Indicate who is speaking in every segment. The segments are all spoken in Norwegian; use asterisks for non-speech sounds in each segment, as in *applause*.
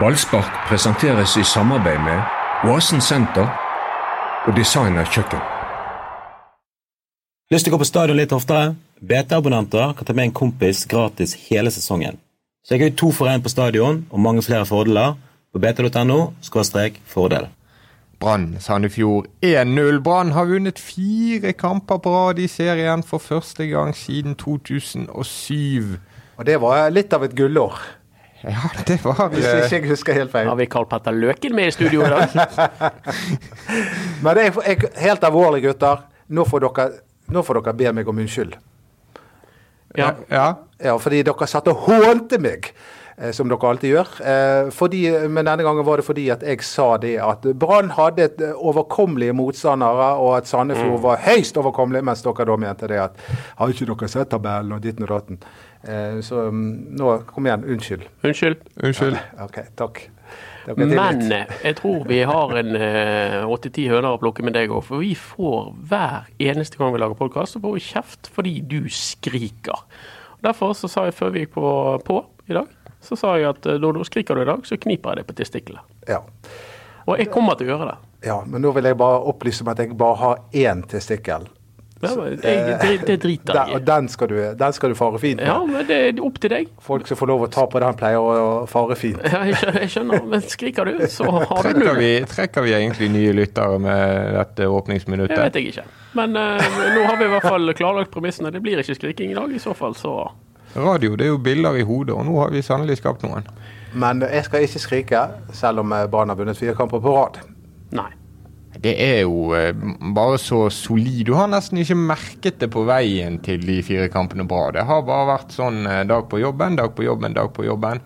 Speaker 1: Ballspark presenteres i samarbeid med Oasen Senter og Designer Kjøkken.
Speaker 2: Lyst til å gå på stadion litt oftere? BT-abonnenter kan ta med en kompis gratis hele sesongen. Sjekk ut to for én på stadion og mange flere fordeler på bt.no fordel.
Speaker 3: Brann Sandefjord 1-0. Brann har vunnet fire kamper på rad i serien for første gang siden 2007.
Speaker 4: Og det var litt av et gullår,
Speaker 3: Ja, det var
Speaker 4: hvis
Speaker 3: eh,
Speaker 4: ikke jeg husker helt feil.
Speaker 5: Har vi Karl Petter Løken med i studio i dag?
Speaker 4: Men det er jeg, helt alvorlig, gutter. Nå får, dere, nå får dere be meg om unnskyld.
Speaker 5: Ja.
Speaker 3: Ja.
Speaker 4: Ja, fordi dere satt og hånte meg, eh, som dere alltid gjør. Eh, fordi, men denne gangen var det fordi at jeg sa det at Brann hadde et eh, overkommelige motstandere, og at Sandefjord var høyst overkommelig, mens dere da mente det at Har ikke dere sett tabellen og ditten og datten? Eh, så mm, nå, kom igjen, unnskyld.
Speaker 5: Unnskyld.
Speaker 3: Unnskyld.
Speaker 4: OK, takk. Dere er tilgitt.
Speaker 5: Men eh, jeg tror vi har en eh, åtte-ti høner å plukke med deg òg. For vi får hver eneste gang vi lager podkast, så får vi kjeft fordi du skriker. Derfor så sa jeg før vi gikk på, på i dag, så sa jeg at eh, når du skriker du i dag, så kniper jeg deg på testiklene.
Speaker 4: ja.
Speaker 5: Og jeg kommer til å gjøre det.
Speaker 4: Ja, men nå vil jeg bare opplyse om at jeg bare har én testikkel.
Speaker 5: Det, jeg, det, det
Speaker 4: Den,
Speaker 5: driter jeg
Speaker 4: og
Speaker 5: i.
Speaker 4: den skal, du, den skal du fare fint med.
Speaker 5: Ja, men det er opp til deg.
Speaker 4: Folk som får lov å ta på den, pleier å å fare fint.
Speaker 5: Ja, jeg skjønner, jeg skjønner, men skriker du, så har du
Speaker 3: Trekker
Speaker 5: null.
Speaker 3: vi, trekker vi egentlig nye lyttere med dette
Speaker 5: Det vet
Speaker 3: åpningsminuttet?
Speaker 5: jeg ikke. Men eh, nå har vi i hvert fall klarlagt premissene. Det blir ikke skriking i dag. I så fall så
Speaker 3: Radio det er jo biller i hodet, og nå har vi sannelig skapt noen.
Speaker 4: Men jeg skal ikke skrike, selv om eh, Brann har vunnet fire kamper på rad.
Speaker 5: nei.
Speaker 3: Det er jo eh, bare så solid. Du har nesten ikke merket det på veien til de fire kampene bra. Det har bare vært sånn eh, dag på jobben, dag på jobben, dag på jobben.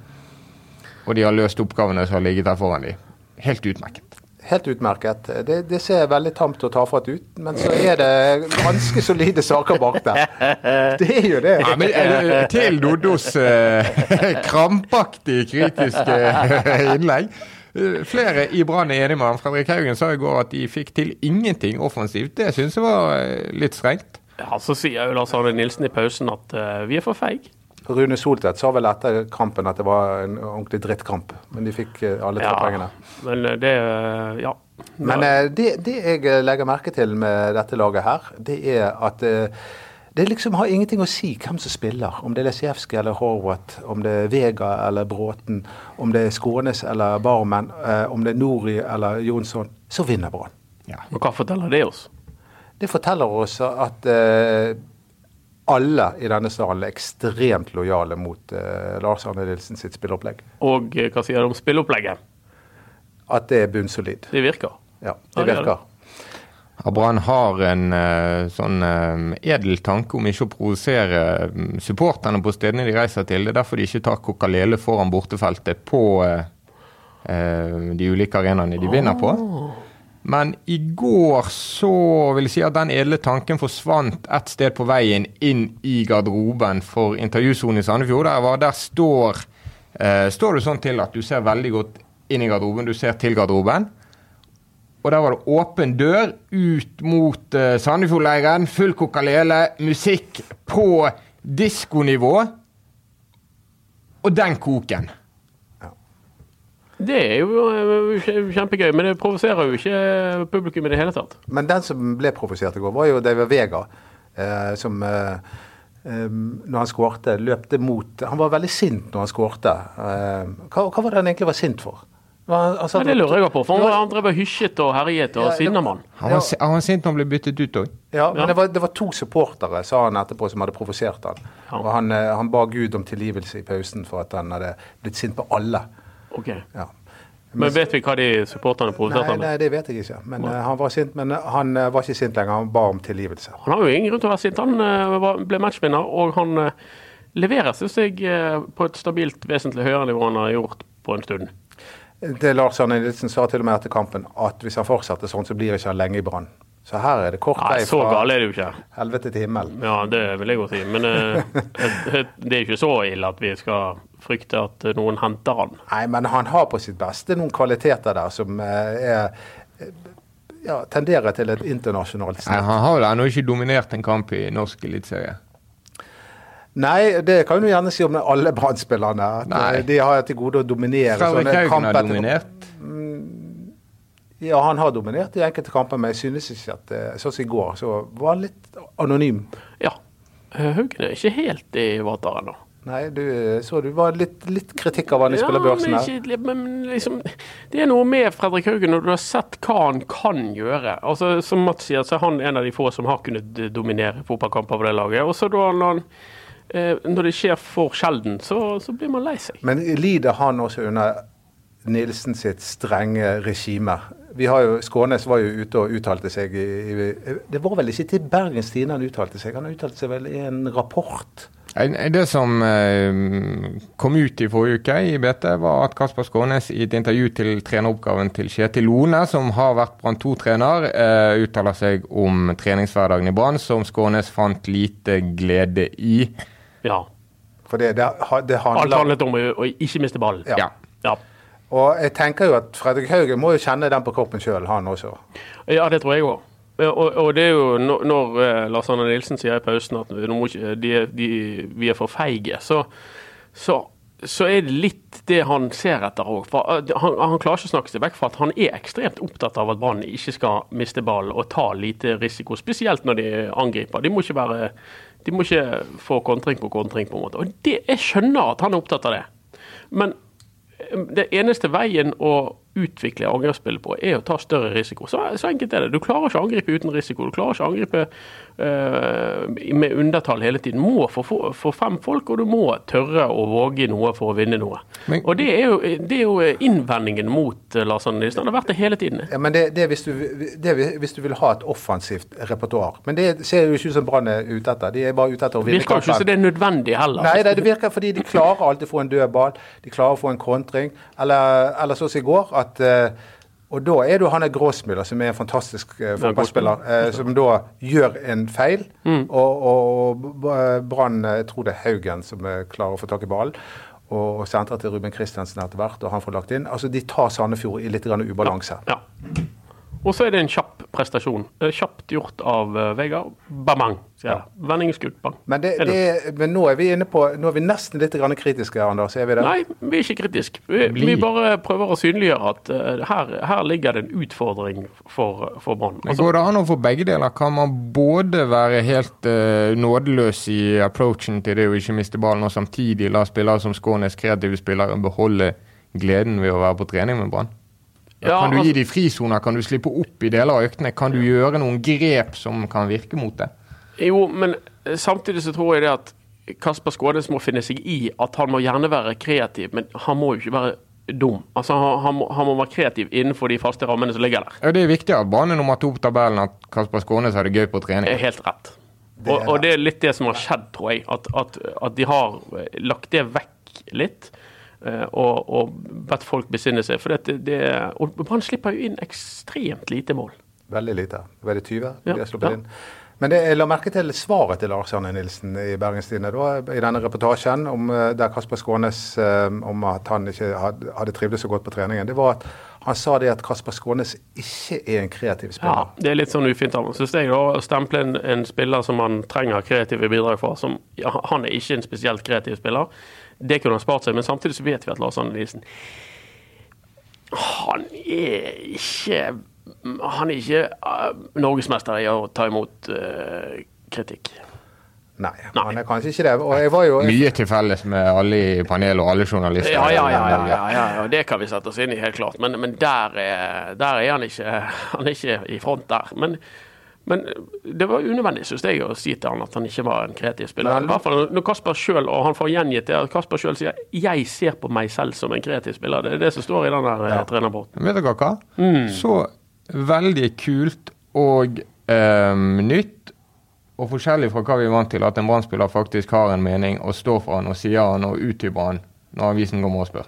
Speaker 3: Og de har løst oppgavene som har ligget der foran de. Helt utmerket.
Speaker 4: Helt utmerket. Det, det ser veldig tamt og tafatt ut, men så er det ganske solide saker bak der. Det er jo det.
Speaker 3: Ja, men eh, til Doddos eh, *laughs* krampaktig kritiske eh, innlegg. Eh, Flere i Brann er enig med han. Fredrik Haugen sa i går at de fikk til ingenting offensivt. Det syns jeg var eh, litt strengt.
Speaker 5: Ja, Så sier jo Lars Arne Nilsen i pausen at eh, vi er for feig.
Speaker 4: Rune Soltvedt sa vel etter kampen at det var en ordentlig drittkamp, men de fikk eh, alle tre poengene.
Speaker 5: men eh, det eh, Ja.
Speaker 4: Men eh, det, det jeg legger merke til med dette laget her, det er at eh, det liksom har ingenting å si hvem som spiller. Om det er Lesijevskij eller Horvath, om det er Vega eller Bråten, om det er Skånes eller Barmen, eh, om det er Nori eller Jonsson, så vinner Brann.
Speaker 5: Og hva forteller det oss?
Speaker 4: Det forteller oss at eh, alle i denne salen er ekstremt lojale mot eh, Lars Arne Nilsen sitt spilleopplegg.
Speaker 5: Og eh, hva sier det om spilleopplegget?
Speaker 4: At det er bunnsolid.
Speaker 5: Det virker.
Speaker 4: Ja,
Speaker 5: Ja,
Speaker 4: det
Speaker 5: det gjør
Speaker 4: virker.
Speaker 3: Ja, Brann har en eh, sånn eh, edel tanke om ikke å provosere mm, supporterne på stedene de reiser til. Det er derfor de ikke tar Kokalele foran bortefeltet på eh, eh, de ulike arenaene de vinner på. Men i går så vil jeg si at den edle tanken forsvant et sted på veien inn i garderoben for intervjusonen i Sandefjord. Der, var, der står, eh, står det sånn til at du ser veldig godt inn i garderoben, du ser til garderoben. Og der var det åpen dør ut mot uh, Sandefjordleiren. Full kokalele, musikk på diskonivå. Og den koken.
Speaker 5: Det er jo eh, kje- kjempegøy, men det provoserer jo ikke eh, publikum i det hele tatt.
Speaker 4: Men den som ble provosert i går, var jo David Vega. Eh, som eh, eh, når han skårte, løpte mot Han var veldig sint når han skårte. Eh, hva, hva var det han egentlig var sint for? Var Han, han
Speaker 5: Ja,
Speaker 4: satt-
Speaker 5: det lurer jeg på, for han- han drev og hysjet og herjet og
Speaker 4: Ja, det-
Speaker 5: sinna mann.
Speaker 3: Han var,
Speaker 4: Ja.
Speaker 3: si- han var sint når han ble byttet ut òg.
Speaker 4: Ja, men
Speaker 5: Ja.
Speaker 4: det var, det var to supportere, sa han etterpå, som hadde provosert han.
Speaker 5: Ja.
Speaker 4: Og han, eh, han ba Gud om tilgivelse i pausen for at han hadde blitt sint på alle.
Speaker 5: Ok.
Speaker 4: Ja.
Speaker 5: Men vet vi hva de supporterne
Speaker 4: Nei,
Speaker 5: provoserte med?
Speaker 4: nei, det vet jeg ikke. Men eh, han var sint, men eh, han eh, var ikke sint lenger. Han ba om tilgivelse.
Speaker 5: Han har jo ingen grunn til å være sint. Han eh, var- ble matchvinner, og han eh, leverer, synes jeg, eh, på et stabilt vesentlig høyere nivå enn han har gjort på en stund.
Speaker 4: Det Lars Arne Nilsen sa til og med etter kampen, at hvis han fortsetter sånn, så blir ikke han lenge i Brann. Så her er det kort
Speaker 5: Nei,
Speaker 4: vei
Speaker 5: så
Speaker 4: fra
Speaker 5: gale er det jo ikke.
Speaker 4: helvete til himmel.
Speaker 5: Ja, det vil jeg godt si.
Speaker 4: *laughs*
Speaker 5: Men eh, et- et- det er ikke så ille at vi skal frykte at noen henter han.
Speaker 4: Nei, men han har på sitt beste noen kvaliteter der som eh, er eh, ja, tenderer til et internasjonalt snitt.
Speaker 3: Han har vel ennå ikke dominert en kamp i norsk eliteserie.
Speaker 4: Nei, det kan du gjerne si om alle Brann-spillerne. at,
Speaker 3: Nei.
Speaker 4: eh, De har til gode å dominere.
Speaker 3: Fredrik
Speaker 4: sånne
Speaker 3: Haugen
Speaker 4: sånn kamp
Speaker 3: har
Speaker 4: etter-
Speaker 3: dominert.
Speaker 4: Ja, han har dominert i enkelte kamper, men jeg synes ikke at eh, Sånn som i går, så var han litt anonym.
Speaker 5: Ja. Eh, Haugen er ikke helt i vater ennå.
Speaker 4: Nei, du eh, så du var litt, litt kritikk av han i spillerbørsen
Speaker 5: men,
Speaker 4: her.
Speaker 5: ikke, men liksom, det er noe med Fredrik Haugen når du har sett hva han kan gjøre. Altså, som Mats sier, så er han en av de få som har kunnet eh, dominere fotballkamper på det laget. Og så da når, han, eh, når det skjer for sjelden, så, så blir man lei seg.
Speaker 4: Men lider han også under Nilsen sitt strenge regime? Vi har jo, Skånes var jo ute og uttalte seg i, i Det var vel ikke til Bergens Tidende han uttalte seg? Han uttalte seg vel i en rapport?
Speaker 3: Nei, Det som eh, kom ut i forrige uke i BT, var at Kasper Skånes i et intervju til treneroppgaven til Kjetil Lone, som har vært Brann 2-trener, eh, uttaler seg om treningshverdagen i Brann, som Skånes fant lite glede i.
Speaker 5: Ja.
Speaker 4: For det, det, ha- det
Speaker 5: Alt
Speaker 4: handler
Speaker 5: handlet om å å ikke miste ballen.
Speaker 4: Ja.
Speaker 3: Ja.
Speaker 5: Ja.
Speaker 4: Og jeg tenker jo at Fredrik Haugen må jo kjenne den på kroppen sjøl, han også.
Speaker 5: Ja, det tror jeg òg. Og, og det er jo når, når eh, Lars Arne Nilsen sier i pausen at nå må ikke, de, er- de, vi er for feige, så, så, så er det litt det han ser etter òg. Han, han klarer ikke å snakke seg vekk fra at han er ekstremt opptatt av at Brann ikke skal miste ballen og ta lite risiko, spesielt når de angriper. De må ikke, være, de må ikke få kontring på kontring, på en måte. Og det, jeg skjønner at han er opptatt av det. Men det eneste veien å utvikle angrepsspill på, er å ta større risiko. Så, så enkelt er det. Du klarer ikke å angripe uten risiko. Du klarer ikke å angripe eh, med undertall hele tiden. Du må få, få, få fem folk, og du må tørre å våge noe for å vinne noe.
Speaker 3: Men-
Speaker 5: og det er, jo, det er jo innvendingen mot eh, Lars Arne Nilsen. Han har vært det hele tiden.
Speaker 4: Ja, men det, det, er hvis du, det er hvis du vil ha et offensivt repertoar. Men det ser jo ikke ut som Brann er ute etter. De er bare ute etter å
Speaker 5: Det
Speaker 4: vinne
Speaker 5: virker jo ikke
Speaker 4: kampen.
Speaker 5: som det er nødvendig heller.
Speaker 4: Nei, det, det virker fordi de klarer alltid å få en død ball. De klarer å få en kontring. Eller, eller sånn som i går at eh, Og da er det jo han der Gråsmiller, som er en fantastisk eh, fotballspiller, eh, som da gjør en feil.
Speaker 5: Mm.
Speaker 4: Og, og, og Brann eh, Jeg tror det er Haugen som eh, klarer å få tak i ballen. Og sentrer til Ruben Kristiansen etter hvert, og han får lagt inn. Altså, De tar Sandefjord i litt grann ubalanse.
Speaker 5: Ja. Og så er det en kjapp prestasjon. Eh, Kjapt gjort av eh, Vegard. Bamang, sier jeg. Vendingsskudd, bang.
Speaker 4: Men, det,
Speaker 5: Er det-
Speaker 4: det, men nå er vi inne på, nå er vi nesten litt grann kritiske, Anders. Er vi det?
Speaker 5: Nei, vi er ikke kritiske. Vi, vi bare prøver å synliggjøre at eh, her, her ligger det en utfordring for, for Brann.
Speaker 3: Men
Speaker 5: Altså,
Speaker 3: går det an å få begge deler? Kan man både være helt eh, nådeløs i approachen til det å ikke miste ballen, og samtidig la spillere som Skånes, kreative spillere, beholde gleden ved å være på trening med Brann?
Speaker 5: Ja,
Speaker 3: kan du
Speaker 5: altså-
Speaker 3: gi dem frisoner? Kan du slippe opp i deler av øktene? Kan du gjøre noen grep som kan virke mot det?
Speaker 5: jo, men eh, samtidig så tror jeg det at Kasper Skånes må finne seg i at han må gjerne være kreativ, men han må jo ikke være dum. Altså, han, han, må, han må være kreativ innenfor de faste rammene som ligger der.
Speaker 3: Ja, det er viktig at Brann er nummer to på tabellen, at Kasper Skånes har det gøy på
Speaker 5: Det
Speaker 3: trening.
Speaker 5: er helt rett. Og, og det er litt det som har skjedd, tror jeg. At, at, at de har eh, lagt det vekk litt. eh, Og, og bedt folk besinne seg. For det, det, og Brann slipper jo inn ekstremt lite mål.
Speaker 4: Veldig lite. Var det 20?
Speaker 5: Ja,
Speaker 4: de har sluppet
Speaker 5: ja.
Speaker 4: inn. Men det, jeg la merke til svaret til Lars Arne Nilsen i Bergens Tidende da, i denne reportasjen om, eh, der Kasper Skånes eh, om at han ikke hadde, hadde trivdes så godt på treningen. Det var at han sa det at Kasper Skånes ikke er en kreativ
Speaker 5: Ja,
Speaker 4: spiller.
Speaker 5: det er litt sånn ufint av ham. Syns jeg, da. Å stemple en, en spiller som man trenger kreative bidrag fra, som ja, han er ikke en spesielt kreativ spiller. Det kunne han spart seg, men samtidig så vet vi at Lars Arne Nilsen Han er ikke Han er ikke eh, norgesmester i å ta imot eh, kritikk.
Speaker 4: Nei,
Speaker 5: Nei.
Speaker 4: han er kanskje ikke det. Og jeg var jo
Speaker 3: Mye til felles med alle i panelet og alle journalister.
Speaker 5: Ja, ja, ja, ja, ja, ja, ja. Det kan vi sette oss inn i, helt klart. Men, men der, er, der er han ikke *laughs* Han er ikke i front der. Men, men det var unødvendig, synes jeg, å si til han at han ikke var en kreativ spiller.
Speaker 4: Men-
Speaker 5: I hvert fall når Kasper selv, og han får gjengitt det, at Kasper sjøl sier 'jeg ser på meg selv som en kreativ spiller'. Det er det som står i den der eh, ja. trenerborten.
Speaker 3: Vet dere hva?
Speaker 5: Mm.
Speaker 3: Så veldig kult og ehm, nytt og forskjellig fra hva vi er vant til, at en Brann-spiller faktisk har en mening og står for han og sier han og utdyper han når avisen kommer og spør.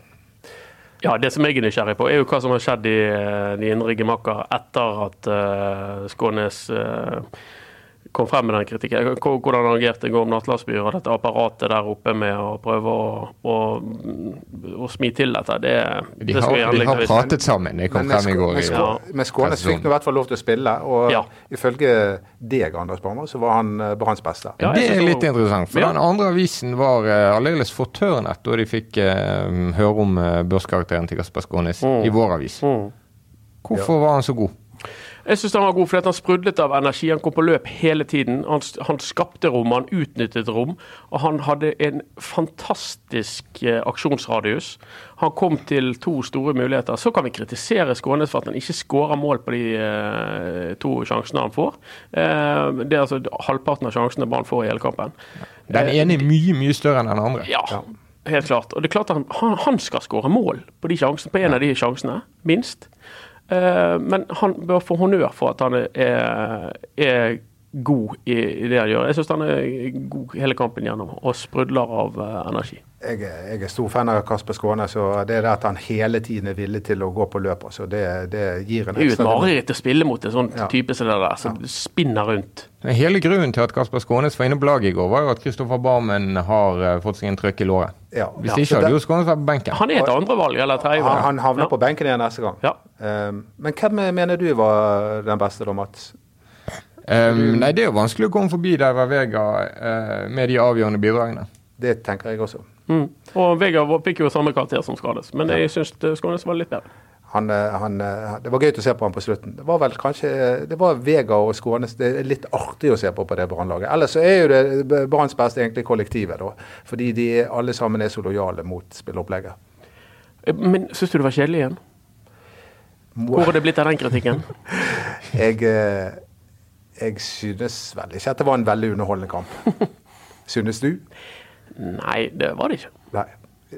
Speaker 5: Ja, det som jeg er nysgjerrig på, er jo hva som har skjedd i eh, de indre gemakker etter at eh, Skånes eh, kom frem med den kritikken. H- Hvordan agerte Gorm Natlandsby og dette apparatet der oppe med å prøve å, å, å smi til dette? Det,
Speaker 3: De
Speaker 5: det skal vi
Speaker 3: har, de
Speaker 5: gjerne
Speaker 3: har
Speaker 5: litt-
Speaker 3: pratet sammen. Det kom
Speaker 4: Men
Speaker 3: frem i går.
Speaker 4: Skå- men
Speaker 3: i-
Speaker 4: Skå- men Skånes fikk nå i hvert fall lov til å spille, og
Speaker 5: Ja.
Speaker 4: ifølge deg, Anders Barmer, så var han eh, på hans beste.
Speaker 5: Ja, jeg
Speaker 3: det er
Speaker 5: synes
Speaker 3: litt
Speaker 5: det var-
Speaker 3: interessant, for
Speaker 5: Ja.
Speaker 3: den andre avisen var eh, aldeles fortørnet da de fikk eh, høre om eh, børskarakteren til Kasper Skånes i vår avis.
Speaker 5: Mm.
Speaker 3: Hvorfor var han så god?
Speaker 5: Jeg syns han var god fordi at han sprudlet av energi. Han kom på løp hele tiden. Han, han skapte rom, han utnyttet rom. Og han hadde en fantastisk eh, aksjonsradius. Han kom til to store muligheter. Så kan vi kritisere Skånes for at han ikke skårer mål på de eh, to sjansene han får. Eh, det er altså halvparten av sjansene Brann får i hele kampen. Eh,
Speaker 3: Den ene er mye, mye større enn den andre.
Speaker 5: Ja, helt klart. Og det er klart at han- han, han skal skåre mål på, de sjansene, på en av de sjansene, minst. Eh, men han bør få honnør for at han er, er, er god i, i det han gjør. Jeg syns han er god hele kampen gjennom, og sprudler av eh, energi.
Speaker 4: Jeg, er- jeg er stor fan av Kasper Skånes, og det der at han hele tiden er villig til å gå på løp, altså, det, det gir en
Speaker 5: Det er jo et
Speaker 4: ekstra
Speaker 5: mareritt å spille mot en sånn
Speaker 4: Ja.
Speaker 5: type som det der, som spinner rundt.
Speaker 3: Men Hele grunnen til at Kasper Skånes var inne på laget i går, var jo at Kristoffer Barmen har eh, fått seg en trøkk i låret.
Speaker 4: Ja.
Speaker 3: Hvis
Speaker 4: Ja.
Speaker 3: ikke
Speaker 4: Så det-
Speaker 3: hadde jo Skånes vært på benken.
Speaker 5: Han er et andrevalg, eller
Speaker 4: Han,
Speaker 5: tredjevalg.
Speaker 4: han havner
Speaker 5: Ja.
Speaker 4: på benken igjen neste gang.
Speaker 5: Ja.
Speaker 4: Um, men hvem eh, mener du var den beste da, Mats?
Speaker 3: Ehm, nei, det er jo vanskelig å komme forbi der var Vega eh, med de avgjørende bidragene.
Speaker 4: Det tenker jeg også.
Speaker 5: Mm. Og Vegard var- fikk jo samme karakter som Skades, men jeg syns Skånes var litt bedre.
Speaker 4: Han, eh, han, eh, det var gøy å se på han på slutten. Det var vel kanskje eh, Det var Vega og Skånes det er litt artig å se på på det Brann-laget. Ellers så er jo det Branns beste egentlig kollektivet, da. Fordi de alle sammen er så lojale mot spilleopplegget.
Speaker 5: Eh, Men syns du det var kjedelig igjen?
Speaker 4: Må-
Speaker 5: Hvor er det blitt av den kritikken?
Speaker 4: Jeg, eh, jeg synes vel ikke at det var en veldig underholdende *laughs* kamp. Synes du?
Speaker 5: Nei, det var det ikke.
Speaker 4: Nei.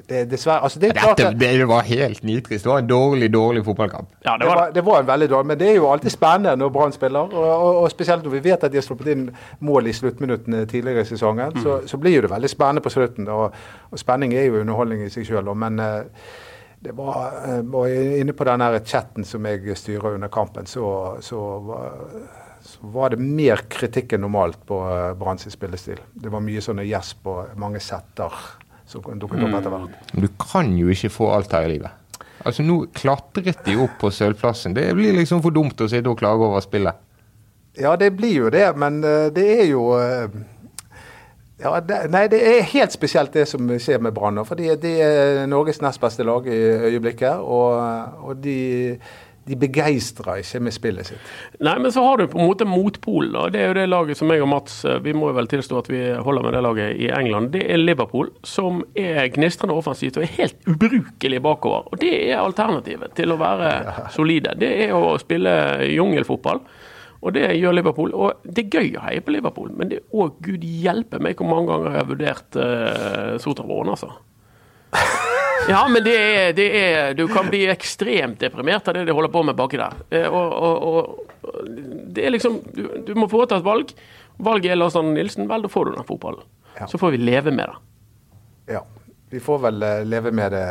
Speaker 4: Det, dessverre. Altså, det er klart
Speaker 3: Dette
Speaker 4: at
Speaker 3: det var helt nitrist. Det var en dårlig, dårlig fotballkamp.
Speaker 5: Ja, det
Speaker 4: det
Speaker 5: var
Speaker 4: var,
Speaker 5: det.
Speaker 4: det var en veldig dårlig, men det er jo alltid spennende når Brann spiller. Og, og, og spesielt når vi vet at de har sluppet inn mål i sluttminuttene tidligere i sesongen, så,
Speaker 5: Mm.
Speaker 4: så blir jo det veldig spennende på slutten. Og, og spenning er jo underholdning i seg sjøl, men eh, det var, eh, var inne på den her chatten som jeg styrer under kampen, så, så, var- så var det mer kritikk enn normalt på eh, Brann sin spillestil. Det var mye sånne gjesp og mange setter som dukket
Speaker 5: Mm.
Speaker 4: opp etter hvert.
Speaker 3: Men Du kan jo ikke få alt her i livet. Altså Nå klatret de opp på sølvplassen. Det blir liksom for dumt å sitte og klage over spillet.
Speaker 4: Ja, det blir jo det, men eh, det er jo eh, ja, det, Nei, det er helt spesielt det som skjer med Brann nå. Fordi det er Norges nest beste lag i øyeblikket, og, og de, de begeistrer ikke med spillet sitt.
Speaker 5: Nei, men så har du på en måte motpolen. da. Det er jo det laget som jeg og Mats eh, Vi må jo vel tilstå at vi holder med det laget i England. Det er Liverpool, som er gnistrende offensivt og er helt ubrukelig bakover. Og det er alternativet til å være *laughs* solide. Det er å spille jungelfotball. Og det gjør Liverpool. Og det er gøy å heie på Liverpool, men det er òg gud hjelpe meg hvor mange ganger jeg har vurdert uh, Sotravåren, altså. Ja, men det er, det er Du kan bli ekstremt deprimert av det de holder på med baki der. Eh, Og, og, og det er liksom Du, du må foreta et valg. Valget er Lars Arne Nilsen. Vel, da får du den fotballen.
Speaker 4: Ja.
Speaker 5: Så får vi leve med det.
Speaker 4: Ja, vi får vel eh, leve med det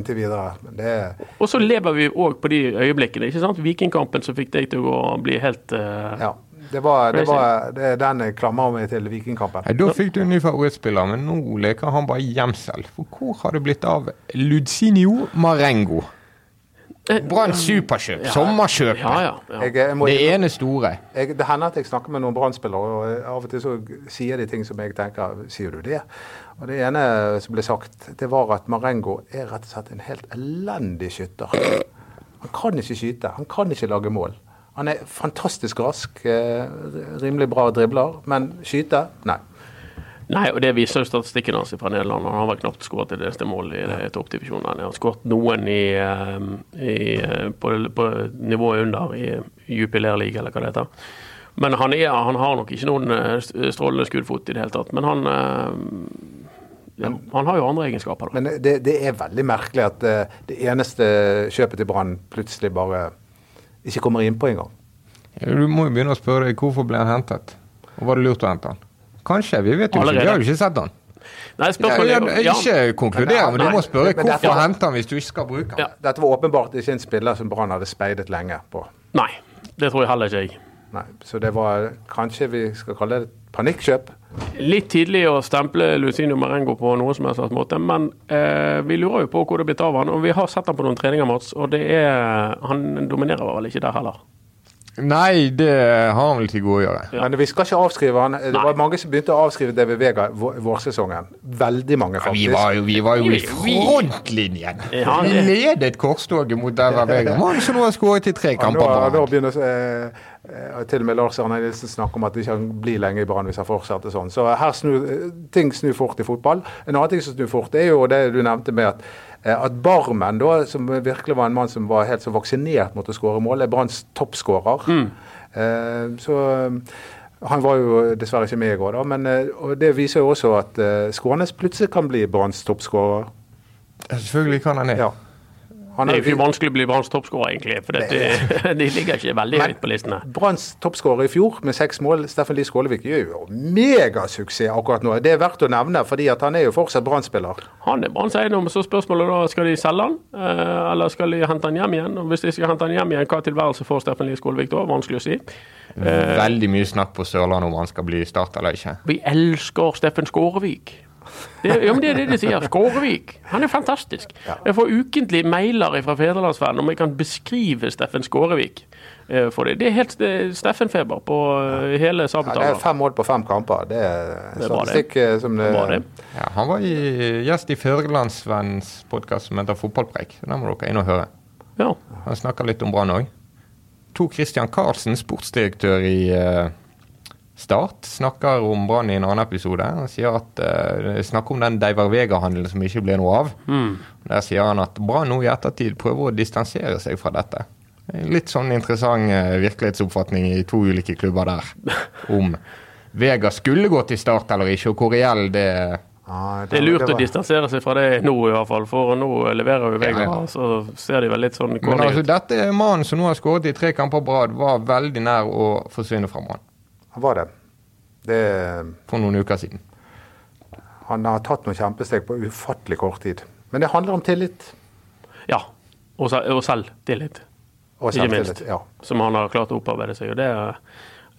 Speaker 4: inntil videre. Men det er
Speaker 5: Og så lever vi òg på de øyeblikkene. ikke sant? Vikingkampen som fikk deg til å gå og bli helt eh,
Speaker 4: Ja. Det var, det var det, er den jeg klamrer meg til Vikingkampen.
Speaker 3: Nei, Da fikk du en ny favorittspiller, men nå leker han bare gjemsel. For hvor har det blitt av Ludzinio Marengo?
Speaker 5: eh,
Speaker 3: Brann superkjøp, sommerkjøp.
Speaker 5: Ja, ja. ja.
Speaker 4: Jeg, jeg må,
Speaker 3: Det ene store.
Speaker 4: jeg, det hender at jeg snakker med noen Brann-spillere, og eh, av og til så sier de ting som jeg tenker Sier du det? Og det ene som ble sagt, det var at Marengo er rett og slett en helt elendig skytter. Han kan ikke skyte. Han kan ikke lage mål. Han er fantastisk rask, eh, rimelig bra dribler, men skyte? Nei.
Speaker 5: Nei, og det viser jo statistikken hans fra Nederland. Han har vel knapt skåret et eneste mål i det- toppdivisjonen. Han har skåret noen i, eh, i, eh, på, på nivået under i Jupiler League, eller hva det heter. Men han, er, han har nok ikke noen eh, st- strålende skuddfot i det hele tatt. Men han, eh, ja, han har jo andre egenskaper, da.
Speaker 4: Men det, det er veldig merkelig at eh, det eneste kjøpet til Brann plutselig bare ikke kommer innpå engang.
Speaker 3: Du må jo begynne å spørre deg hvorfor ble han hentet. Og var det lurt å hente han? Kanskje, vi vet jo ikke.
Speaker 5: Allerede.
Speaker 3: Vi har jo ikke sett han.
Speaker 5: Nei,
Speaker 3: Ja,
Speaker 5: spørsmålet
Speaker 3: ja,
Speaker 5: er jo- ja,
Speaker 3: ikke konkludere, men du
Speaker 5: Nei.
Speaker 3: må spørre
Speaker 4: Men dette-
Speaker 3: hvorfor hente han hvis du ikke skal bruke han.
Speaker 5: Ja.
Speaker 4: Dette var åpenbart ikke en spiller som Brann hadde speidet lenge på.
Speaker 5: Nei, det tror jeg heller ikke jeg.
Speaker 4: Nei, så det var kanskje vi skal kalle det et panikkjøp.
Speaker 5: Litt tidlig å stemple Lucino Marengo på noen som helst slags måte, men eh, vi lurer jo på hvor det er blitt av han, og vi har sett han på noen treninger, Mats, og det er, han dominerer vel ikke der heller.
Speaker 3: Nei, det har han vel til gode å gjøre.
Speaker 4: Men vi skal ikke avskrive han. Det
Speaker 5: Nei.
Speaker 4: var mange som begynte å avskrive DV Vega vår- vårsesongen. Veldig mange,
Speaker 3: Vi
Speaker 4: faktisk.
Speaker 3: var jo, vi var jo i
Speaker 5: Vi- vi-
Speaker 3: frontlinjen!
Speaker 5: Ja,
Speaker 3: Vi
Speaker 5: det-
Speaker 3: ledet korstoget mot Derva Vega. Mann som nå har skåret i tre
Speaker 4: Ja,
Speaker 3: kamper på
Speaker 4: nå, nå
Speaker 3: rad.
Speaker 4: begynner eh, eh, til og med Lars Arne Nilsen snakke om at det ikke kan bli lenge i Brann hvis han fortsetter sånn. Så her snur, eh, ting snur fort i fotball. En annen ting som snur fort, er jo det du nevnte med at, eh, at Barmen, da, som virkelig var en mann som var helt så vaksinert mot å skåre mål, er Branns toppskårer.
Speaker 3: Mm.
Speaker 4: Eh, så eh, han var jo dessverre ikke med i går, da, men eh, og det viser jo også at eh, Skånes plutselig kan bli Branns toppskårer.
Speaker 3: Selvfølgelig kan han det.
Speaker 4: Ja. Han
Speaker 5: Det er jo
Speaker 4: har-
Speaker 5: ikke vanskelig å bli Branns toppskårer, egentlig, for dette, *laughs* de ligger ikke veldig
Speaker 4: Men-
Speaker 5: høyt på listene.
Speaker 4: Branns toppskårer i fjor med seks mål, Steffen Lie Skålevik, gjør jo megasuksess akkurat nå. Det er verdt å nevne, fordi at han er jo fortsatt Brann-spiller.
Speaker 5: Han er Branns eiendom, så spørsmålet da skal de selge han, eh, eller skal de hente han hjem igjen? Og hvis de skal hente han hjem igjen, hva tilværelse får Steffen Lie Skålevik da? Vanskelig å si.
Speaker 3: Veldig mye snakk på Sørlandet om han skal bli Start eller ikke.
Speaker 5: Vi elsker Steffen Skårevik. Det, ja, men det er det de sier. Skårevik. Han er fantastisk. Jeg får ukentlig mailer fra Federlandsvennen om jeg kan beskrive Steffen Skårevik eh, for dem. Det er helt eh, Steffen-feber på eh, hele
Speaker 4: Ja, det
Speaker 5: Sabeltann.
Speaker 4: er fem mål på fem kamper. Det er
Speaker 5: Det er bra, det.
Speaker 4: statistikk eh, som det,
Speaker 5: Bra, det.
Speaker 3: Ja, han var i, gjest i Førdelandsvennens podkast som heter Fotballpreik. Den må dere inn og høre.
Speaker 5: Ja.
Speaker 3: Han snakker litt om Brann òg. To Christian Karlsen, sportsdirektør i eh, Start, snakker om Brann i en annen episode. Han sier at, eh, snakker om den Deiver Vega-handelen som ikke ble noe av. Der sier han at Brann nå i ettertid prøver å distansere seg fra dette. Litt sånn interessant eh, virkelighetsoppfatning i to ulike klubber der. Om Vega skulle gå til Start eller ikke, og hvor reell det er.
Speaker 4: Ja, det-
Speaker 5: Det er lurt
Speaker 4: det var-
Speaker 5: å distansere seg fra det nå, i hvert fall. For nå leverer jo Vegard,
Speaker 3: Ja, ja.
Speaker 5: så ser de vel litt sånn
Speaker 3: Men altså,
Speaker 5: corny ut.
Speaker 3: dette er mannen som nå har skåret i tre kamper på rad, var veldig nær å forsvinne fra Brann
Speaker 4: Han var det. det.
Speaker 3: for noen uker siden.
Speaker 4: Han har tatt noen kjempesteg på ufattelig kort tid. Men det handler om tillit.
Speaker 5: Ja. Og, se- og selvtillit.
Speaker 4: Og
Speaker 5: Ikke
Speaker 4: selvtillit,
Speaker 5: minst.
Speaker 4: Ja.
Speaker 5: Som han har klart å opparbeide seg. Og det er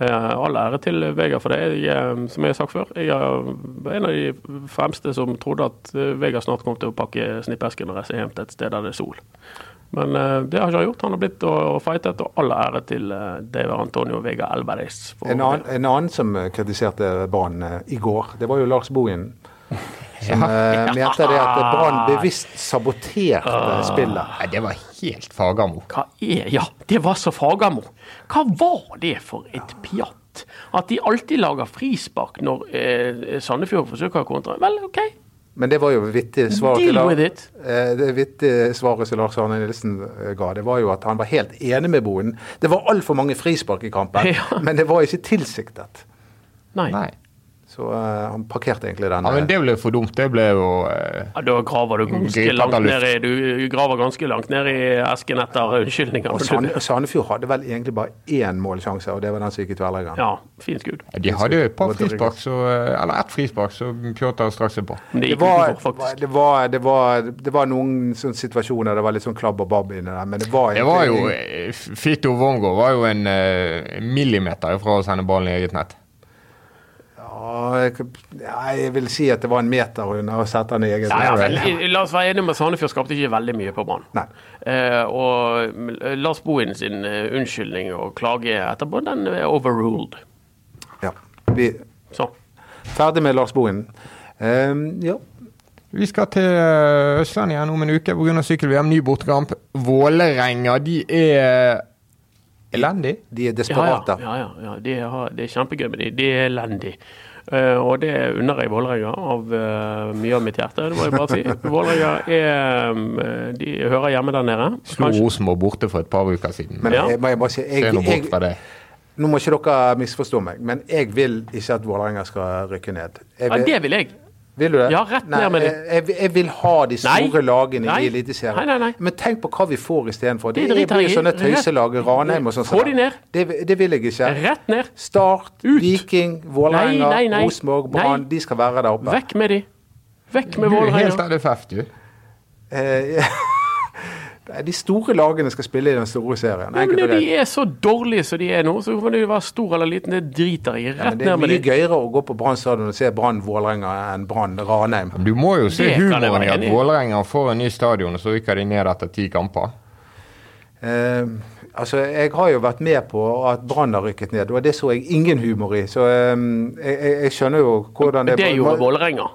Speaker 5: eh, all ære til Vegard for det. Jeg, eh, som jeg har sagt før, jeg er en av de fremste som trodde at eh, Vegard snart kom til å pakke snippesken og reise hjem til et sted der det er sol. Men eh, det har ikke han gjort. Han har blitt og, og fightet, og all ære til eh, David Antonio Vegard Elveris. for
Speaker 4: En
Speaker 5: det.
Speaker 4: annen, en annen som eh, kritiserte Brann eh, i går, det var jo Lars Bohin.
Speaker 5: *laughs*
Speaker 4: Som eh, mente det at Brann bevisst
Speaker 5: Ah.
Speaker 4: saboterte spillet.
Speaker 3: Nei, det var helt Fagermo.
Speaker 5: Hva er Ja, det var så Fagermo. Hva var det for et pjatt? At de alltid lager frispark når eh, Sandefjord forsøker å kontre? Vel, OK.
Speaker 4: Men det var jo vittig svar
Speaker 5: Mhm. Deal
Speaker 4: til Lars-
Speaker 5: with it.
Speaker 4: Eh, Det vittige svaret som Lars Arne Nilsen eh, ga, det var jo at han var helt enig med Boen. Det var altfor mange frispark i kampen,
Speaker 5: *laughs* Ja.
Speaker 4: men det var ikke tilsiktet.
Speaker 5: Nei.
Speaker 3: Nei.
Speaker 4: Så eh, han parkerte egentlig den.
Speaker 3: Ja, men
Speaker 4: eh,
Speaker 3: det ble for dumt. Det ble jo eh,
Speaker 5: Ja, da graver du ganske
Speaker 3: Griper
Speaker 5: langt
Speaker 3: etter
Speaker 5: ned i, du graver ganske langt ned i esken etter unnskyldninger.
Speaker 4: og Sand, Sandefjord hadde vel egentlig bare én målsjanse, og det var den som gikk i tverrleggeren.
Speaker 5: Ja, fint skudd.
Speaker 3: De hadde jo et par
Speaker 4: Rodriguez.
Speaker 3: frispark, så, eh, eller ett frispark, som Pjotr straks er på.
Speaker 5: Men det
Speaker 4: Det
Speaker 5: gikk
Speaker 4: var,
Speaker 5: utenfor, faktisk.
Speaker 4: det, var, det, var, det var noen sånne situasjoner det var litt sånn klabb og babb inni der, men det var
Speaker 3: Det var jo
Speaker 4: egentlig-
Speaker 3: eh, Fito Wormgård var jo en eh, millimeter fra å sende ballen i eget nett.
Speaker 4: ja, jeg, nei, jeg vil si at det var en meter unna å sette den i eget
Speaker 5: Ja, ja,
Speaker 4: mål.
Speaker 5: men, i- la oss være enige om at Sandefjord skapte ikke veldig mye på Brann.
Speaker 4: Nei.
Speaker 5: Eh, og eh, Lars Bohin sin eh, unnskyldning og klage etterpå, den er overruled.
Speaker 4: Ja. Vi,
Speaker 5: Sånn.
Speaker 4: Ferdig med Lars Bohin. Ehm, ja.
Speaker 3: Vi skal til eh, Østlandet igjen om en uke pga. sykkel-VM. Ny bortekamp. Vålerenga, de er eh, elendig.
Speaker 4: De er
Speaker 5: Ja,
Speaker 4: desperate.
Speaker 5: ja, ja, ja. De har, det er kjempegøy med de. De er elendige. Eh, og det unner jeg Vålerenga av eh, mye av mitt hjerte, det må jeg bare si. Vålerenga er eh, De hører hjemme der nede.
Speaker 3: Slo
Speaker 5: Kanskje-
Speaker 3: Rosenborg borte for et par uker siden.
Speaker 4: Men
Speaker 5: Ja.
Speaker 4: jeg, må jeg bare si,
Speaker 3: Se
Speaker 4: jeg,
Speaker 3: nå bort fra
Speaker 4: jeg,
Speaker 3: det.
Speaker 4: nå må ikke dere misforstå meg, men jeg vil ikke at Vålerenga skal rykke ned. Jeg
Speaker 5: Ja, det vil jeg.
Speaker 4: vil du det?
Speaker 5: Ja, rett
Speaker 4: Nei,
Speaker 5: ned med
Speaker 4: jeg, jeg, jeg vil ha de store
Speaker 5: Nei.
Speaker 4: lagene
Speaker 5: Nei.
Speaker 4: i Eliteserien.
Speaker 5: Nei, nei, nei.
Speaker 4: Men tenk på hva vi får istedenfor. Det,
Speaker 5: Det
Speaker 4: det
Speaker 5: driter
Speaker 4: blir
Speaker 5: jeg i.
Speaker 4: sånne tøyselag. Ranheim og sånn.
Speaker 5: Få de ned.
Speaker 4: Det, det vil jeg ikke.
Speaker 5: Rett ned.
Speaker 4: Start,
Speaker 5: Ut.
Speaker 4: Viking, Vålerenga,
Speaker 5: Nei, nei, nei.
Speaker 4: Rosenborg, Brann.
Speaker 5: Nei.
Speaker 4: De skal være der oppe.
Speaker 5: Vekk med de. Vekk
Speaker 3: Du
Speaker 5: med
Speaker 3: er helt
Speaker 5: Vålerenga.
Speaker 3: LFF, du.
Speaker 4: Eh, Nei, De store lagene skal spille i den store serien.
Speaker 5: Ja, men
Speaker 4: enkelt og
Speaker 5: Når
Speaker 4: greit.
Speaker 5: de er så dårlige som de er nå, så kan du være stor eller liten. Det driter jeg i.
Speaker 4: Ja, men
Speaker 5: Rett
Speaker 4: det er
Speaker 5: ned med
Speaker 4: mye
Speaker 5: dem.
Speaker 4: gøyere å gå på Brann stadion og se Brann Vålerenga enn Brann Ranheim.
Speaker 3: Du må jo se
Speaker 5: Det kan jeg
Speaker 3: humoren i
Speaker 5: være
Speaker 3: at
Speaker 5: enig i.
Speaker 3: Vålerenga får en ny stadion, og så rykker de ned etter ti kamper.
Speaker 4: Eh, altså, jeg har jo vært med på at Brann har rykket ned, og det så jeg ingen humor i. Så eh, jeg, jeg, jeg skjønner jo hvordan det
Speaker 5: Det gjorde Vålerenga.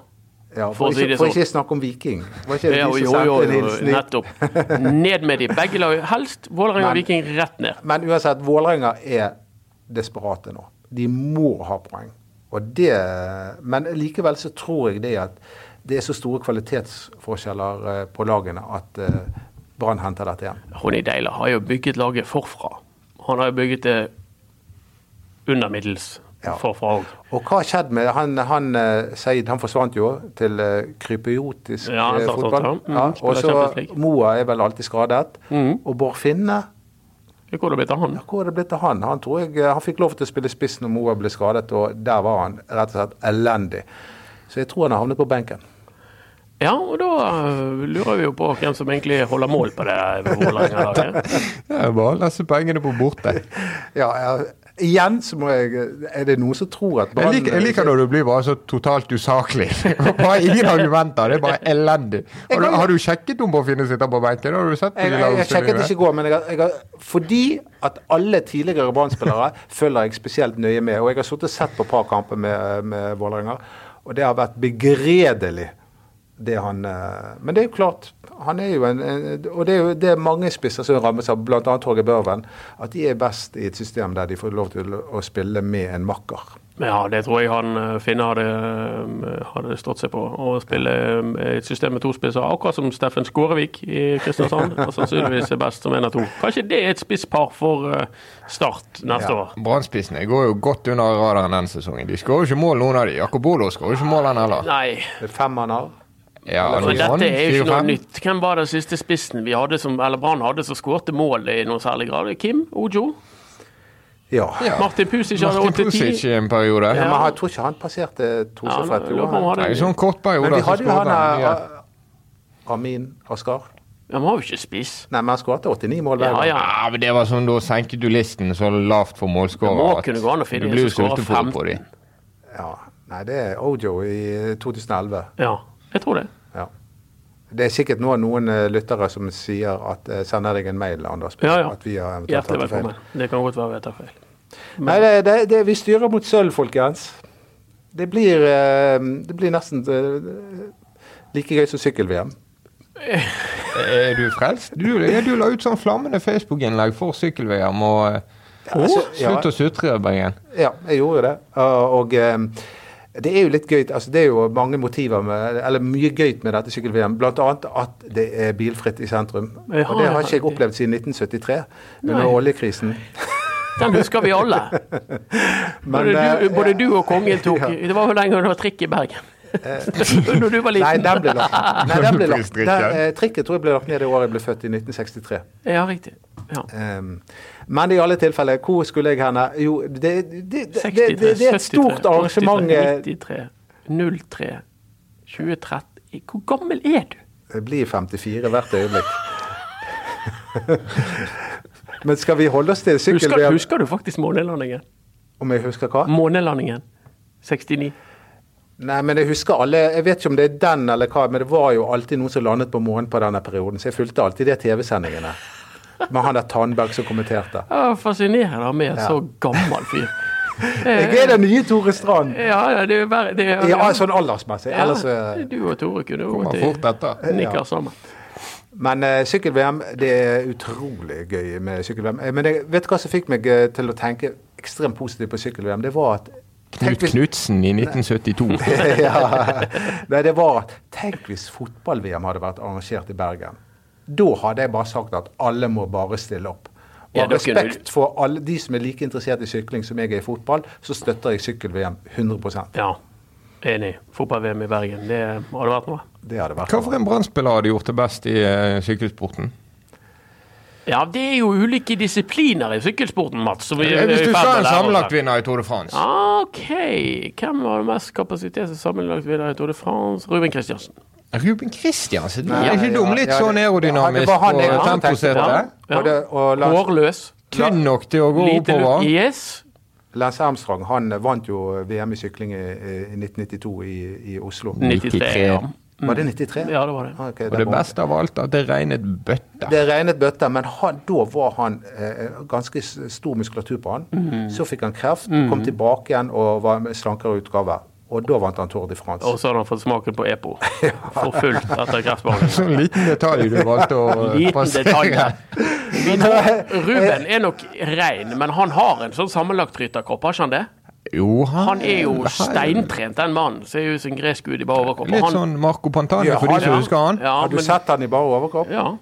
Speaker 4: Ja,
Speaker 5: for å
Speaker 4: for,
Speaker 5: si
Speaker 4: ikke,
Speaker 5: det
Speaker 4: for
Speaker 5: sånn.
Speaker 4: ikke snakke om Viking. Var ikke det
Speaker 5: Jo,
Speaker 4: de
Speaker 5: jo,
Speaker 4: som
Speaker 5: jo,
Speaker 4: sendte en
Speaker 5: jo,
Speaker 4: hilsen hit?
Speaker 5: nettopp. Ned med de. Begge lag. Helst Vålerenga og
Speaker 4: Men-
Speaker 5: Viking rett ned.
Speaker 4: Men uansett, Vålerenga er desperate nå. De må ha poeng. Og det, men likevel så tror jeg det at det er så store kvalitetsforskjeller eh, på lagene at eh, Brann henter dette igjen.
Speaker 5: Ronny Deila har jo bygget laget forfra. Han har jo bygget det under middels
Speaker 4: Ja.
Speaker 5: forfra òg.
Speaker 4: Og hva har skjedd med han, han eh, Seid? Han forsvant jo til eh, krypiotisk
Speaker 5: Ja, han
Speaker 4: eh,
Speaker 5: startet
Speaker 4: fotball.
Speaker 5: opp, ja. Mm,
Speaker 4: ja, og
Speaker 5: spiller Champions
Speaker 4: så
Speaker 5: League. Mm.
Speaker 4: Moa er vel alltid skadet. Og Bård Finne,
Speaker 5: Hvor er det blitt av han?
Speaker 4: ja, hvor er det blitt av han? Han, tror jeg, eh, han fikk lov til å spille spiss når Moa ble skadet, og der var han rett og slett elendig. Så jeg tror han har havnet på benken.
Speaker 5: Ja, og da øh, lurer vi jo på hvem som egentlig holder mål på det Vålerenga-laget.
Speaker 3: Det er bare å lese pengene på *laughs* borte.
Speaker 4: Ja, ja, igjen så må jeg eh, Er det noen som tror at
Speaker 3: Jeg liker, jeg liker når du blir bare så totalt usaklig. *laughs* Bare ingen argumenter. Det er bare elendig. Har du, har du sjekket om Bård Finne sitter på benken? Har du sett på
Speaker 4: Jeg,
Speaker 3: de
Speaker 4: jeg, jeg sjekket
Speaker 3: lagoppstillingene?
Speaker 4: ikke i går, men jeg, har- jeg, har- fordi at alle tidligere Brann-spillere følger jeg spesielt nøye med. Og jeg har sittet og sett på et par kamper med, med Vålerenga, og det har vært begredelig, det han eh, Men det er jo klart. Han er jo en, en Og det er jo det er mange spisser som rammes av bl.a. Torgeir Børven, at de er best i et system der de får lov til å spille med en makker.
Speaker 5: Men ja, det tror jeg han øh, Finne hadde, øh, hadde stått seg på. Å spille øh, et system med to spisser, akkurat som Steffen Skårevik i Kristiansand. Og sannsynligvis er best som en av to. Kanskje det er et spisspar for øh, Start neste år.
Speaker 3: Brannspissene går jo godt under radaren den sesongen. De skårer jo ikke mål, noen av de. Jakob Olo skårer jo ikke mål, han heller.
Speaker 5: Nei,
Speaker 4: Det er fem han har.
Speaker 3: Ja,
Speaker 5: Men
Speaker 3: noe sånn,
Speaker 5: dette er jo ikke noe
Speaker 3: 4-5.
Speaker 5: nytt. Hvem var den siste spissen vi hadde som, eller Brann hadde som skårte mål i noen særlig grad? Kim Ojo?
Speaker 4: Ja.
Speaker 3: Ja.
Speaker 5: Martin Pusic hadde
Speaker 3: Martin
Speaker 5: 8-10.
Speaker 3: Pusic i en periode.
Speaker 4: Men han- jeg tror ikke han passerte
Speaker 5: Ja, han-
Speaker 4: tosifret.
Speaker 5: lurer på om han hadde-
Speaker 3: Nei, sånn kort periode.
Speaker 4: Men vi
Speaker 3: så
Speaker 4: hadde jo
Speaker 3: skårer
Speaker 4: han
Speaker 3: han mye.
Speaker 4: eh, Amin Askar.
Speaker 5: Ja, men har jo ikke spiss.
Speaker 4: Nei, men han skåret 89 mål hver
Speaker 5: Ja,
Speaker 4: gang.
Speaker 5: ja.
Speaker 3: Ja, men det var sånn, Da senket du listen så lavt for
Speaker 5: Det må
Speaker 3: målskårer
Speaker 5: kunne gå an å finne
Speaker 3: du
Speaker 5: en
Speaker 3: blir jo
Speaker 5: som skårer
Speaker 3: sultefòr på dem.
Speaker 4: Ja. Nei, det er Ojo i 2011.
Speaker 5: Ja, jeg tror det.
Speaker 4: Ja. Det er sikkert nå noen eh, lyttere som sier at eh, sender deg en mail, Anders, på
Speaker 5: Ja, ja.
Speaker 4: at vi har eventuelt
Speaker 5: Hjertelig
Speaker 4: tatt det feil.
Speaker 5: velkommen. Det kan godt være vi tar feil.
Speaker 4: Nei, det, det, det, vi styrer mot sølv, folkens. Det blir, eh, det blir nesten eh, like gøy som sykkel-VM.
Speaker 3: Eh, Er du frelst? Du, ja, du la ut sånn flammende Facebook-innlegg for sykkel-VM og eh,
Speaker 4: altså, ja.
Speaker 3: Slutt å sutre, Bergen.
Speaker 4: Ja, jeg gjorde det. Og, og eh, det er jo litt gøy altså Det er jo mange motiver med, eller mye gøy med dette sykkel-VM. Blant annet at det er bilfritt i sentrum.
Speaker 5: Ja,
Speaker 4: og det har ikke
Speaker 5: ja.
Speaker 4: jeg opplevd siden 1973, under
Speaker 5: Nei.
Speaker 4: oljekrisen.
Speaker 5: Den husker vi alle.
Speaker 4: Men,
Speaker 5: Både du,
Speaker 4: eh,
Speaker 5: både du og kongen tok
Speaker 4: *laughs* Ja. Eh,
Speaker 5: Det var jo lenge det var trikk i Bergen. *laughs* Når du var
Speaker 4: Nei,
Speaker 5: liten.
Speaker 4: den ble lagt ned.
Speaker 5: *laughs*
Speaker 4: Nei, den ble lagt.
Speaker 3: Pristrikken.
Speaker 4: Den, eh, trikket tror jeg ble lagt ned det året jeg ble født, i 1963.
Speaker 5: Ja, riktig. Ja.
Speaker 4: Ehm, men i alle tilfeller, hvor skulle jeg henne? Jo, det, det, det, det,
Speaker 5: 63,
Speaker 4: det, det er et stort
Speaker 5: 73,
Speaker 4: arrangement. eh,
Speaker 5: 93, 03, 2013 Hvor gammel er du?
Speaker 4: Jeg blir 54 hvert øyeblikk. Men skal vi holde oss til
Speaker 5: Husker,
Speaker 4: sykkel-VM?
Speaker 5: husker du faktisk månelandingen?
Speaker 4: Om jeg husker hva?
Speaker 5: Månelandingen 69.
Speaker 4: Nei, men jeg husker alle Jeg vet ikke om det er den eller hva, men det var jo alltid noen som landet på månen på denne perioden, så jeg fulgte alltid de TV-sendingene. Med han der Tandberg som kommenterte.
Speaker 5: Det var fascinerende med en så gammel
Speaker 4: *laughs*
Speaker 5: fyr.
Speaker 4: Jeg er den nye Tore Strand!
Speaker 5: Ja, ja, det er jo bare det er,
Speaker 4: Ja, sånn aldersmessig.
Speaker 5: Ja,
Speaker 4: Ellers eh,
Speaker 5: Du og Tore kunne jo
Speaker 3: Kommer fort etter.
Speaker 5: nikker sammen.
Speaker 4: Men eh, sykkel-VM, det er utrolig gøy med sykkel-VM. Eh, Men jeg, vet du hva som fikk meg eh, til å tenke ekstremt positivt på sykkel-VM? Det var at tenk
Speaker 3: Knut
Speaker 4: hvis-
Speaker 3: Knutsen i 1972.
Speaker 4: *laughs* ja. Nei, det var at Tenk hvis fotball-VM hadde vært arrangert i Bergen. Da hadde jeg bare sagt at alle må bare stille opp. Og
Speaker 5: Ja,
Speaker 4: av
Speaker 5: da kunne du-
Speaker 4: respekt for alle de som er like interessert i sykling som jeg er i fotball, så støtter jeg sykkel-VM 100
Speaker 5: Ja, enig. Fotball-VM i Bergen, det hadde vært noe.
Speaker 4: Det hadde vært
Speaker 3: Hva for en Brann-spiller hadde gjort det best i eh, sykkelsporten?
Speaker 5: Ja, det er jo ulike disipliner i sykkelsporten, Mats. Som vi, er
Speaker 3: Eh, Hvis
Speaker 5: i
Speaker 3: du
Speaker 5: ferd
Speaker 3: skal en
Speaker 5: med å lære oss her.
Speaker 3: sammenlagtvinner i Tour de France
Speaker 5: OK. Hvem har mest kapasitet som sammenlagt vinner i Tour de France? Ruben Kristiansen.
Speaker 3: Ruben Kristiansen,
Speaker 4: Nei,
Speaker 3: er ikke dum?
Speaker 4: ja,
Speaker 3: Litt
Speaker 4: ja,
Speaker 3: sånn
Speaker 4: det- ja, det
Speaker 3: aerodynamisk
Speaker 4: var han jeg
Speaker 3: på
Speaker 4: også tenkte på.
Speaker 3: temposetet.
Speaker 5: Ja.
Speaker 4: Og det- og Lars-
Speaker 5: Hårløs.
Speaker 3: Tynn nok til å gå
Speaker 5: Lite lu-
Speaker 3: oppover.
Speaker 5: Yes.
Speaker 4: Lance Armstrong han vant jo VM i sykling i, i 1992 i, i Oslo.
Speaker 5: 93. Ja.
Speaker 4: Var det 93?
Speaker 5: ja, det var det.
Speaker 4: Ah, ok,
Speaker 3: Og det
Speaker 4: var-
Speaker 3: beste av alt, at det regnet *laughs* bøtter.
Speaker 4: Det regnet bøtter, men han, da var han eh, ganske s- stor muskulatur på han.
Speaker 3: Mhm.
Speaker 4: Så fikk han kreft, kom tilbake igjen og var med slankere utgave. Og da vant han Tour de France.
Speaker 5: Og så hadde han fått smaken på EPO.
Speaker 3: *laughs*
Speaker 5: For fullt etter kreftbehandling.
Speaker 3: Sånn liten detalj du valgte å eh,
Speaker 5: *laughs* Liten detalj.
Speaker 3: passere.
Speaker 5: Vi
Speaker 3: *laughs*
Speaker 5: tror Ruben er nok rein, men han har en sånn sammenlagt rytterkropp, har ikke han det?
Speaker 3: Jo,
Speaker 5: Han er jo steintrent, den mannen. Ser jo ut som en gresk gud i bare overkropp. og
Speaker 3: Litt
Speaker 5: han-
Speaker 3: sånn Marco Pantani,
Speaker 4: Ja,
Speaker 3: for de
Speaker 4: han-
Speaker 3: som husker han.
Speaker 5: Ja,
Speaker 4: Har du
Speaker 5: men,
Speaker 4: sett han i bare overkropp?
Speaker 5: ja,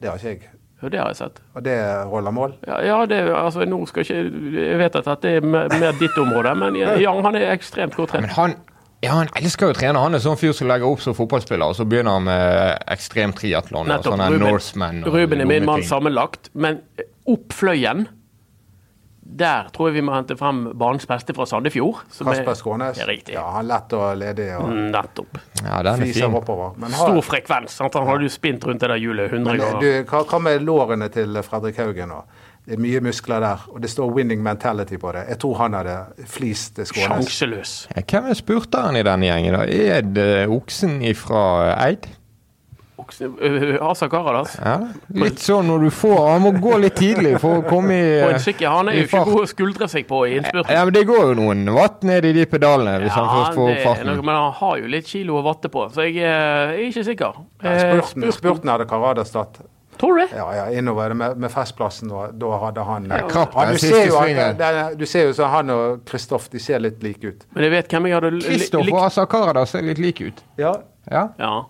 Speaker 4: Det har ikke jeg.
Speaker 5: jo, det har jeg sett.
Speaker 4: Og det holder mål.
Speaker 5: Ja, ja det, altså, nå skal ikke, jeg vet at dette er mer mer ditt område, men ja, han er ekstremt godt
Speaker 3: Men
Speaker 5: trent.
Speaker 3: han, ja, han elsker jo å trene. Han er sånn fyr som legger opp som fotballspiller, og så begynner han med ekstrem triatlon og
Speaker 5: Nettopp.
Speaker 3: sånne
Speaker 5: Ruben,
Speaker 3: sånn Norseman. og
Speaker 5: Ruben er
Speaker 3: dumme
Speaker 5: min mann
Speaker 3: ting.
Speaker 5: sammenlagt, men opp fløyen der tror jeg vi må hente frem banens beste fra Sandefjord. som er-
Speaker 4: Kasper Skånes.
Speaker 5: Det er riktig.
Speaker 4: Ja, han er lett og ledig og
Speaker 5: Nettopp.
Speaker 3: Ja, den er
Speaker 4: fiser
Speaker 3: fin.
Speaker 4: oppover. Men har-
Speaker 5: Stor frekvens. Sant? Han hadde jo spint rundt det der hjulet 100
Speaker 4: Men, eh,
Speaker 5: ganger.
Speaker 4: du, hva, hva med lårene til Fredrik Haugen nå? Det er mye muskler der, og det står 'winning mentality' på det. Jeg tror han hadde flist Skånes.
Speaker 5: Sjanseløs.
Speaker 3: Ja, hvem er spurteren i denne gjengen, da? Er det oksen ifra Eid?
Speaker 5: Okse- øh, Asa Karadas.
Speaker 3: Ja, litt sånn når du får Han må gå litt tidlig for å komme i, eh,
Speaker 5: På en sykkel. Han er
Speaker 3: i
Speaker 5: jo ikke god å skuldre seg på i innspurten.
Speaker 3: Ja, men Det går jo noen vatt ned i de pedalene hvis han først får
Speaker 5: det
Speaker 3: opp
Speaker 5: er
Speaker 3: farten.
Speaker 5: noe, men han har jo litt kilo å vatte på, så jeg eh, er ikke sikker. Eh,
Speaker 4: Spurten, spurten hadde Karadas tatt.
Speaker 5: Tror du det?
Speaker 4: Ja, ja, innover det med, med festplassen, og da hadde han eh,
Speaker 3: Ja, Krapp
Speaker 4: Ja,
Speaker 3: er
Speaker 4: du,
Speaker 3: siste
Speaker 4: ser jo at,
Speaker 3: svingen.
Speaker 4: det- det- du ser jo så han og Kristoff, de ser litt like ut.
Speaker 5: Men jeg vet hvem jeg hadde li-
Speaker 3: Kristoff og
Speaker 5: likt
Speaker 3: Asa Karadas ser litt like ut.
Speaker 4: Ja.
Speaker 3: Ja.
Speaker 5: ja.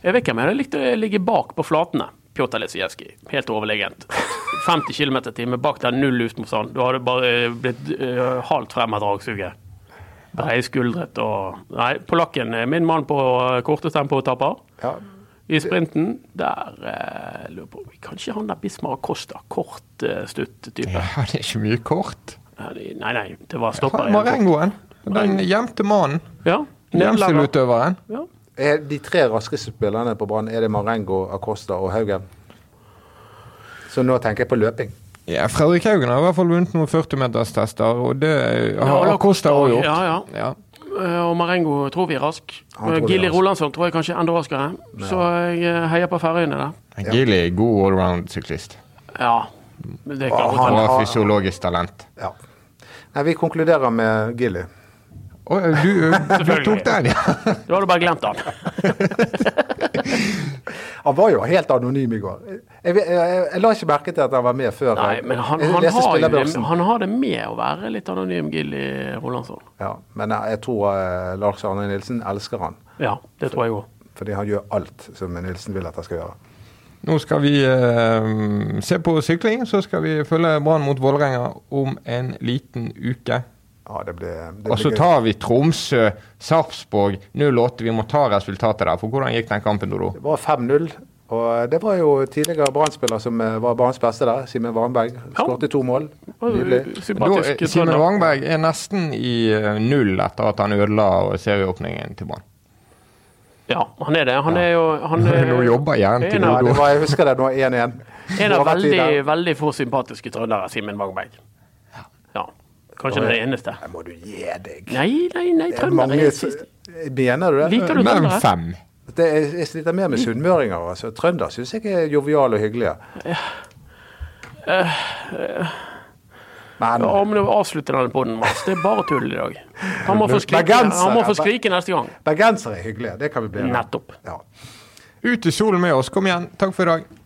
Speaker 5: Jeg vet hvem jeg hadde likt å ligge bak på flatene. Pjotr Lesijevskij. Helt overlegent. 50 km i timen bak der, null luftmotstand. Du hadde bare eh, blitt eh, halt frem av dragsuget. Breiskuldret og Nei, polakken. eh, Min mann på eh, korte tempotapper.
Speaker 4: ja.
Speaker 5: I sprinten, der eh, lurer på Kanskje han der Bismar Costa. Kort, eh, stutt type.
Speaker 3: ja, *laughs* det er ikke mye kort.
Speaker 5: Nei, nei, det
Speaker 3: Han
Speaker 5: var stopper.
Speaker 3: Marengoen. Den gjemte mannen.
Speaker 5: Ja, nederlander.
Speaker 3: Gjemselutøveren.
Speaker 5: Ja.
Speaker 4: Er de tre raskeste spillerne på Brann, er det Marengo, Acosta og Haugen? Så nå tenker jeg på løping.
Speaker 3: Ja, Fredrik Haugen har i hvert fall vunnet noen 40-meterstester, og det eh, har
Speaker 5: Ja,
Speaker 3: Acosta også gjort.
Speaker 5: Ja, ja.
Speaker 3: Ja.
Speaker 5: Eh, Og Marengo tror vi er rask.
Speaker 4: Han tror vi er
Speaker 5: Gilly
Speaker 4: rask.
Speaker 5: Rolandsson tror jeg kanskje er enda raskere. Så jeg eh, heier på Færøyene der.
Speaker 3: Gilly er god allround-syklist.
Speaker 5: Ja. Det kan
Speaker 4: Ah,
Speaker 5: godt
Speaker 4: han-
Speaker 5: hende.
Speaker 3: Og
Speaker 4: har-
Speaker 3: fysiologisk talent.
Speaker 4: Ja. Nei, vi konkluderer med Gilly.
Speaker 3: Å, du, du
Speaker 5: Selvfølgelig.
Speaker 3: tok den, ja!
Speaker 5: Du hadde bare glemt
Speaker 4: *laughs*
Speaker 5: han.
Speaker 4: Han var jo helt anonym i går. Jeg, jeg, jeg, jeg la ikke merke til at han var med før.
Speaker 5: Nei,
Speaker 4: jeg-
Speaker 5: men han,
Speaker 4: jeg
Speaker 5: han,
Speaker 4: leste
Speaker 5: har jo det,
Speaker 4: spillerbørsen.
Speaker 5: han har det med å være litt anonym, Gilly Rolandsson.
Speaker 4: Ja, men jeg, jeg tror eh, Lars Arne Nilsen elsker han.
Speaker 5: Ja, det tror jeg òg.
Speaker 4: Fordi han gjør alt som Nilsen vil at han skal gjøre.
Speaker 3: Nå skal vi eh, se på sykling, så skal vi følge Brann mot Vålerenga om en liten uke.
Speaker 4: Ja, det blir, det blir
Speaker 3: Og så
Speaker 4: gøy.
Speaker 3: tar vi Tromsø, Sarpsborg 08. Vi må ta resultatet der. For hvordan gikk den kampen, Dodo?
Speaker 4: Det var 5-0. Og det var jo tidligere Brann-spiller som eh, var Branns beste der. Simen Warnberg. Skåret to mål. Nydelig.
Speaker 3: Da,
Speaker 5: Sympatisk
Speaker 3: eh, Simen
Speaker 5: trønder.
Speaker 3: Wangberg er nesten i eh, null etter at han ødela serieåpningen til Brann.
Speaker 5: Ja, han er det. Han er jo han
Speaker 4: *laughs*
Speaker 5: er,
Speaker 3: Nå jobber hjernen til
Speaker 5: en
Speaker 4: Ja,
Speaker 5: av,
Speaker 4: det var, jeg husker det, det var 1-1.
Speaker 5: en av
Speaker 4: Det var rett i
Speaker 5: veldig,
Speaker 4: der.
Speaker 5: veldig få sympatiske trøndere, Simen Wangberg. Ja. Kanskje den eneste.
Speaker 4: Nei, Må du gi deg.
Speaker 5: Nei, nei, nei,
Speaker 4: Det er
Speaker 5: trøndere
Speaker 4: mange
Speaker 5: er sist.
Speaker 4: Mener du det?
Speaker 5: Liker du
Speaker 3: Men
Speaker 5: trøndere?
Speaker 3: fem.
Speaker 4: det er, jeg sliter mer med sunnmøringer. Altså. Trønder syns jeg er jovial og hyggelig.
Speaker 5: Eh,
Speaker 4: Men
Speaker 5: Ja, men nå avslutter denne podden, Mats. Det er bare tull i dag. Han må få skrike,
Speaker 4: Bergenser,
Speaker 5: han må få
Speaker 4: ja,
Speaker 5: skrike neste gang.
Speaker 4: bergensere er hyggelige. Det kan vi bli enige om.
Speaker 5: Nettopp.
Speaker 4: Ja.
Speaker 3: Ut i solen med oss. Kom igjen. Takk for i dag.